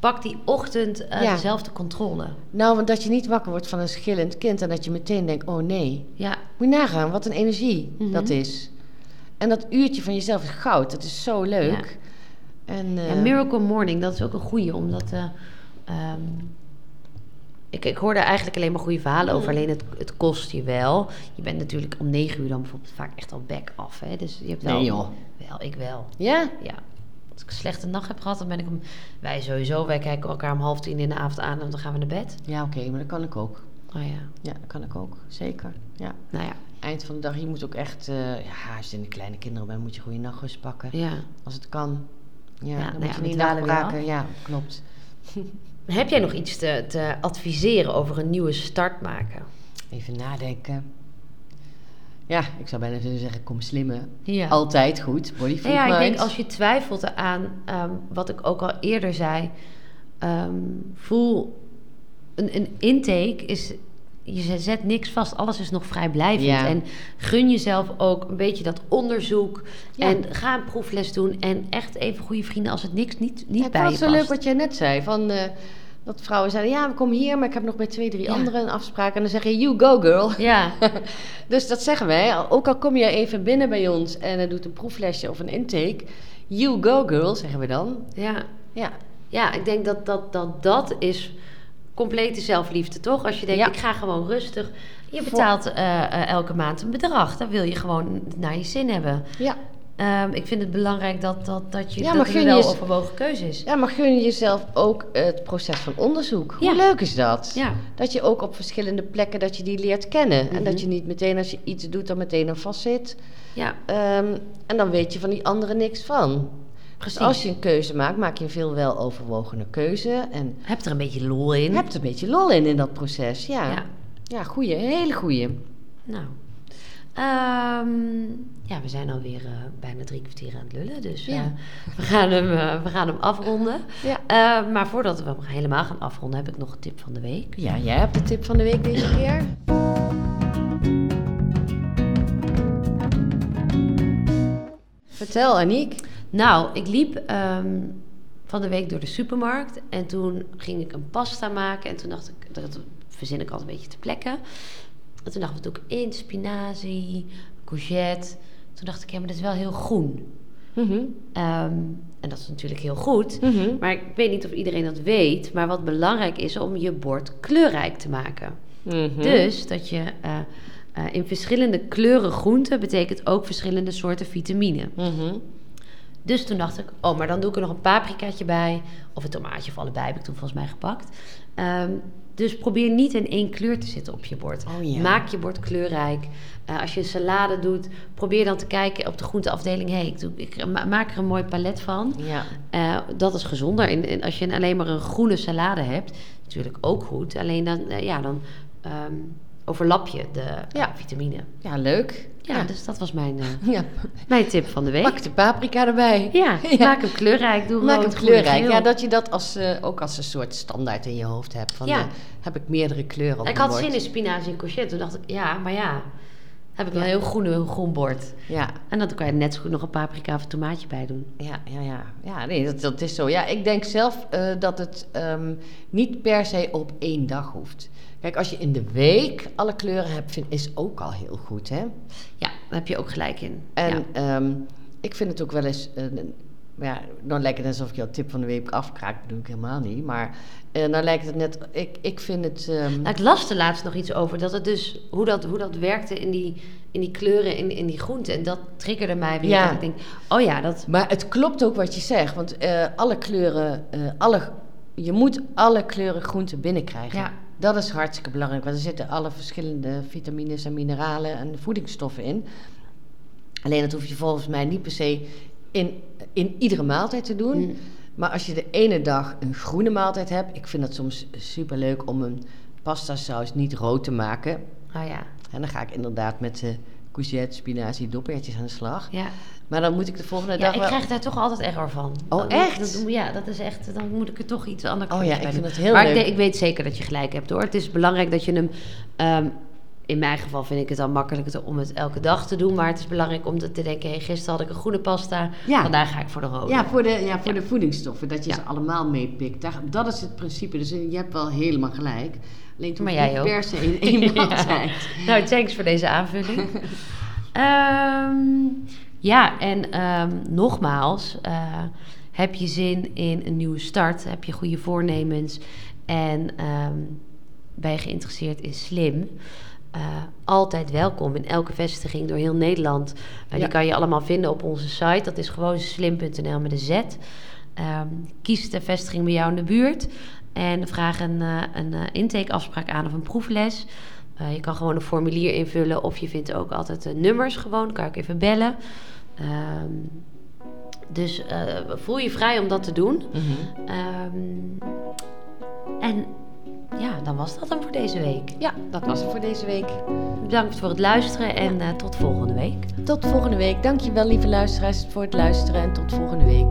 S2: Pak die ochtend eh,
S3: Ja.
S2: dezelfde controle.
S3: nou, want dat je niet wakker wordt van een schillend kind en dat je meteen denkt: oh nee.
S2: Ja,
S3: Moet je nagaan, wat een energie
S2: Mhm.
S3: dat is. En dat uurtje van jezelf is goud, dat is zo leuk. En, eh,
S2: Ja, Miracle Morning, dat is ook een goeie, omdat... eh, ehm, ik, ik hoorde eigenlijk alleen maar goede verhalen over, alleen het, het kost je wel. Je bent natuurlijk om negen uur dan bijvoorbeeld vaak echt al back af, hè. Dus je hebt wel...
S3: Nee, joh.
S2: Wel, ik wel.
S3: ja?
S2: Ja. Als ik een slechte nacht heb gehad, dan ben ik om... Wij sowieso, wij kijken elkaar om half tien in de avond aan en dan gaan we naar bed.
S3: Ja, oké, maar dat kan ik ook.
S2: Oh ja,
S3: Ja, dat kan ik ook, zeker. Ja.
S2: nou ja.
S3: Eind van de dag, je moet ook echt... eh, ja, als je in de kleine kinderen bent, moet je goede nachtrust pakken.
S2: ja.
S3: Als het kan. Ja,
S2: nou
S3: dan
S2: ja,
S3: moet je
S2: we
S3: niet
S2: dwalen weer
S3: napraken. Ja, klopt.
S2: Heb jij nog iets te, te adviseren over een nieuwe start maken?
S3: Even nadenken. Ja, ik zou bijna willen zeggen, kom slimmen.
S2: Ja.
S3: Altijd goed, body,
S2: Nou
S3: food,
S2: ja, ik denk
S3: mind.
S2: als je twijfelt aan ehm, wat ik ook al eerder zei, ehm, voel een, een intake is. Je zet niks vast, alles is nog vrijblijvend.
S3: Ja.
S2: En gun jezelf ook een beetje dat onderzoek.
S3: Ja.
S2: En ga een proefles doen. En echt even goede vrienden als het niks niet, niet
S3: Ja, ik
S2: bij
S3: vond
S2: je
S3: het zo
S2: past.
S3: leuk wat jij net zei. Van, eh, dat vrouwen zeiden, ja, we komen hier, maar ik heb nog bij twee, drie
S2: Ja.
S3: anderen een afspraak. En dan zeg je, you go girl.
S2: Ja,
S3: dus dat zeggen wij. Ook al kom je even binnen bij ons en eh, doet een proeflesje of een intake. You go girl, zeggen we dan.
S2: ja.
S3: Ja,
S2: ja, ik denk dat dat, dat dat is complete zelfliefde, toch? Als je denkt,
S3: Ja.
S2: ik ga gewoon rustig. Je
S3: Voor-
S2: betaalt eh, eh, elke maand een bedrag. Dan wil je gewoon naar je zin hebben.
S3: ja.
S2: Ehm, ik vind het belangrijk dat, dat, dat, je,
S3: Ja, maar
S2: dat het
S3: gun
S2: een
S3: je
S2: wel
S3: eens-
S2: overwogen keuze is.
S3: ja maar gun jezelf ook het proces van onderzoek. Hoe
S2: Ja.
S3: leuk is dat?
S2: Ja.
S3: Dat je ook op verschillende plekken dat je die leert kennen. En
S2: Mhm.
S3: dat je niet meteen als je iets doet, dan meteen aan vastzit.
S2: ja,
S3: Ehm, en dan weet je van die andere niks van.
S2: precies.
S3: Dus als je een keuze maakt, maak je een veel weloverwogene keuze. En
S2: Heb er een beetje lol in.
S3: je hebt een beetje lol in in dat proces. Ja,
S2: Ja.
S3: ja. goeie, hele goeie.
S2: Nou. Ehm, ja, we zijn alweer eh, bijna drie kwartier aan het lullen. Dus eh,
S3: Ja.
S2: we, gaan hem, eh, we gaan hem afronden.
S3: Ja.
S2: Eh, maar voordat we hem helemaal gaan afronden, heb ik nog een tip van de week.
S3: Ja, jij hebt de tip van de week deze keer. Vertel, Aniek.
S2: Nou, ik liep ehm, van de week door de supermarkt en toen ging ik een pasta maken en toen dacht ik, dat verzin ik altijd een beetje te plekken. En toen dacht ik, wat doe ik in? Spinazie, courgette. Toen dacht ik, ja, maar dat is wel heel groen.
S3: Mhm,
S2: Ehm, en dat is natuurlijk heel goed.
S3: mhm.
S2: Maar ik weet niet of iedereen dat weet, maar wat belangrijk is om je bord kleurrijk te maken.
S3: Mhm.
S2: Dus dat je eh, eh, in verschillende kleuren groenten betekent ook verschillende soorten vitamine.
S3: Mhm.
S2: Dus toen dacht ik, oh, maar dan doe ik er nog een paprikaatje bij. Of een tomaatje of allebei heb ik toen volgens mij gepakt. Ehm, dus probeer niet in één kleur te zitten op je bord.
S3: Oh ja.
S2: Maak je bord kleurrijk. Eh, als je een salade doet, probeer dan te kijken op de groenteafdeling. hey, ik, doe, ik ma- maak er een mooi palet van.
S3: Ja.
S2: Eh, dat is gezonder. En, en als je alleen maar een groene salade hebt, natuurlijk ook goed. Alleen dan, eh, ja, dan ehm, overlap je de eh,
S3: Ja.
S2: vitamine.
S3: Ja, leuk.
S2: Ja, dus dat was mijn, eh,
S3: Ja.
S2: mijn tip van de week.
S3: Pak de paprika erbij.
S2: Ja,
S3: Ja.
S2: maak hem kleurrijk. Doe
S3: Maak
S2: rood,
S3: hem
S2: groen en
S3: kleurrijk.
S2: geel.
S3: Ja, dat je dat als, eh, ook als een soort standaard in je hoofd hebt. Van,
S2: Ja.
S3: eh, heb ik meerdere kleuren op
S2: ik
S3: mijn
S2: had zin
S3: bord.
S2: in spinazie en courgette. Toen dacht ik, ja, maar ja. Heb ik wel een heel groen, heel groen bord.
S3: Ja,
S2: En dan kan je net zo goed nog een paprika of een tomaatje bij doen.
S3: ja, ja. ja. ja nee, dat, dat is zo. Ja, ik denk zelf eh, dat het ehm, niet per se op één dag hoeft. Kijk, als je in de week alle kleuren hebt, vind, is ook al heel goed, hè?
S2: Ja, daar heb je ook gelijk in.
S3: En
S2: ja.
S3: ehm, ik vind het ook wel eens. een- een- ja, nou lijkt het alsof ik jouw tip van de week afkraak. Dat doe ik helemaal niet. Maar eh nou lijkt het net. Ik, ik vind het. ehm,
S2: Nou, ik las er laatst nog iets over. Dat het dus, hoe dat, hoe dat werkte in die, in die kleuren, in, in die groenten. En dat triggerde mij weer.
S3: Ja.
S2: Dat ik denk, oh ja, dat...
S3: maar het klopt ook wat je zegt. Want eh, alle kleuren. eh, alle, je moet alle kleuren groenten binnenkrijgen.
S2: Ja.
S3: Dat is hartstikke belangrijk. Want er zitten alle verschillende vitamines en mineralen en voedingsstoffen in. Alleen dat hoef je volgens mij niet per se in, in iedere maaltijd te doen.
S2: Mm.
S3: Maar als je de ene dag een groene maaltijd hebt, ik vind dat soms superleuk om een pasta saus niet rood te maken.
S2: Oh ja,
S3: En dan ga ik inderdaad met eh courgette, spinazie, dopertjes aan de slag.
S2: ja.
S3: Maar dan moet ik de volgende
S2: ja
S3: dag
S2: ik
S3: wel...
S2: krijg daar toch altijd error van.
S3: Oh,
S2: Dan-
S3: echt?
S2: dat doe- ja, dat is echt... Dan moet ik er toch iets anders
S3: Oh ja, ik
S2: bij
S3: vind
S2: doen.
S3: dat heel
S2: maar
S3: leuk.
S2: Ik, denk- ik weet zeker dat je gelijk hebt, hoor. Het is belangrijk dat je hem... ehm, in mijn geval vind ik het dan makkelijk te- om het elke dag te doen. Maar het is belangrijk om te te denken... Hey, gisteren had ik een groene pasta.
S3: Ja.
S2: Vandaag ga ik voor de rode.
S3: Oh, Ja, voor de, ja, voor de voedingsstoffen, dat je
S2: Ja.
S3: ze allemaal meepikt. Daar, dat is het principe, dus je hebt wel helemaal gelijk. Alleen het
S2: Maar
S3: hoeft
S2: jij
S3: niet
S2: ook.
S3: per se in één
S2: Ja.
S3: maaltijd.
S2: Nou, thanks voor deze aanvulling. Ehm, ja, en ehm, nogmaals, eh, heb je zin in een nieuwe start? Heb je goede voornemens? En ehm, ben je geïnteresseerd in slim? Eh, altijd welkom in elke vestiging door heel Nederland. Eh,
S3: Ja.
S2: Die kan je allemaal vinden op onze site. Dat is gewoon slim.nl met een Z. Ehm, kies de vestiging bij jou in de buurt. En vraag een, eh, een eh, intakeafspraak aan of een proefles. Eh, je kan gewoon een formulier invullen of je vindt ook altijd eh, nummers gewoon. Kan ik even bellen. Ehm, dus eh, voel je vrij om dat te doen.
S3: Mhm.
S2: Ehm, en ja, dan was dat hem voor deze week.
S3: Ja, dat was het voor deze week.
S2: Bedankt voor het luisteren en eh, tot volgende week.
S3: Tot volgende week. Dankjewel lieve luisteraars voor het luisteren en tot volgende week.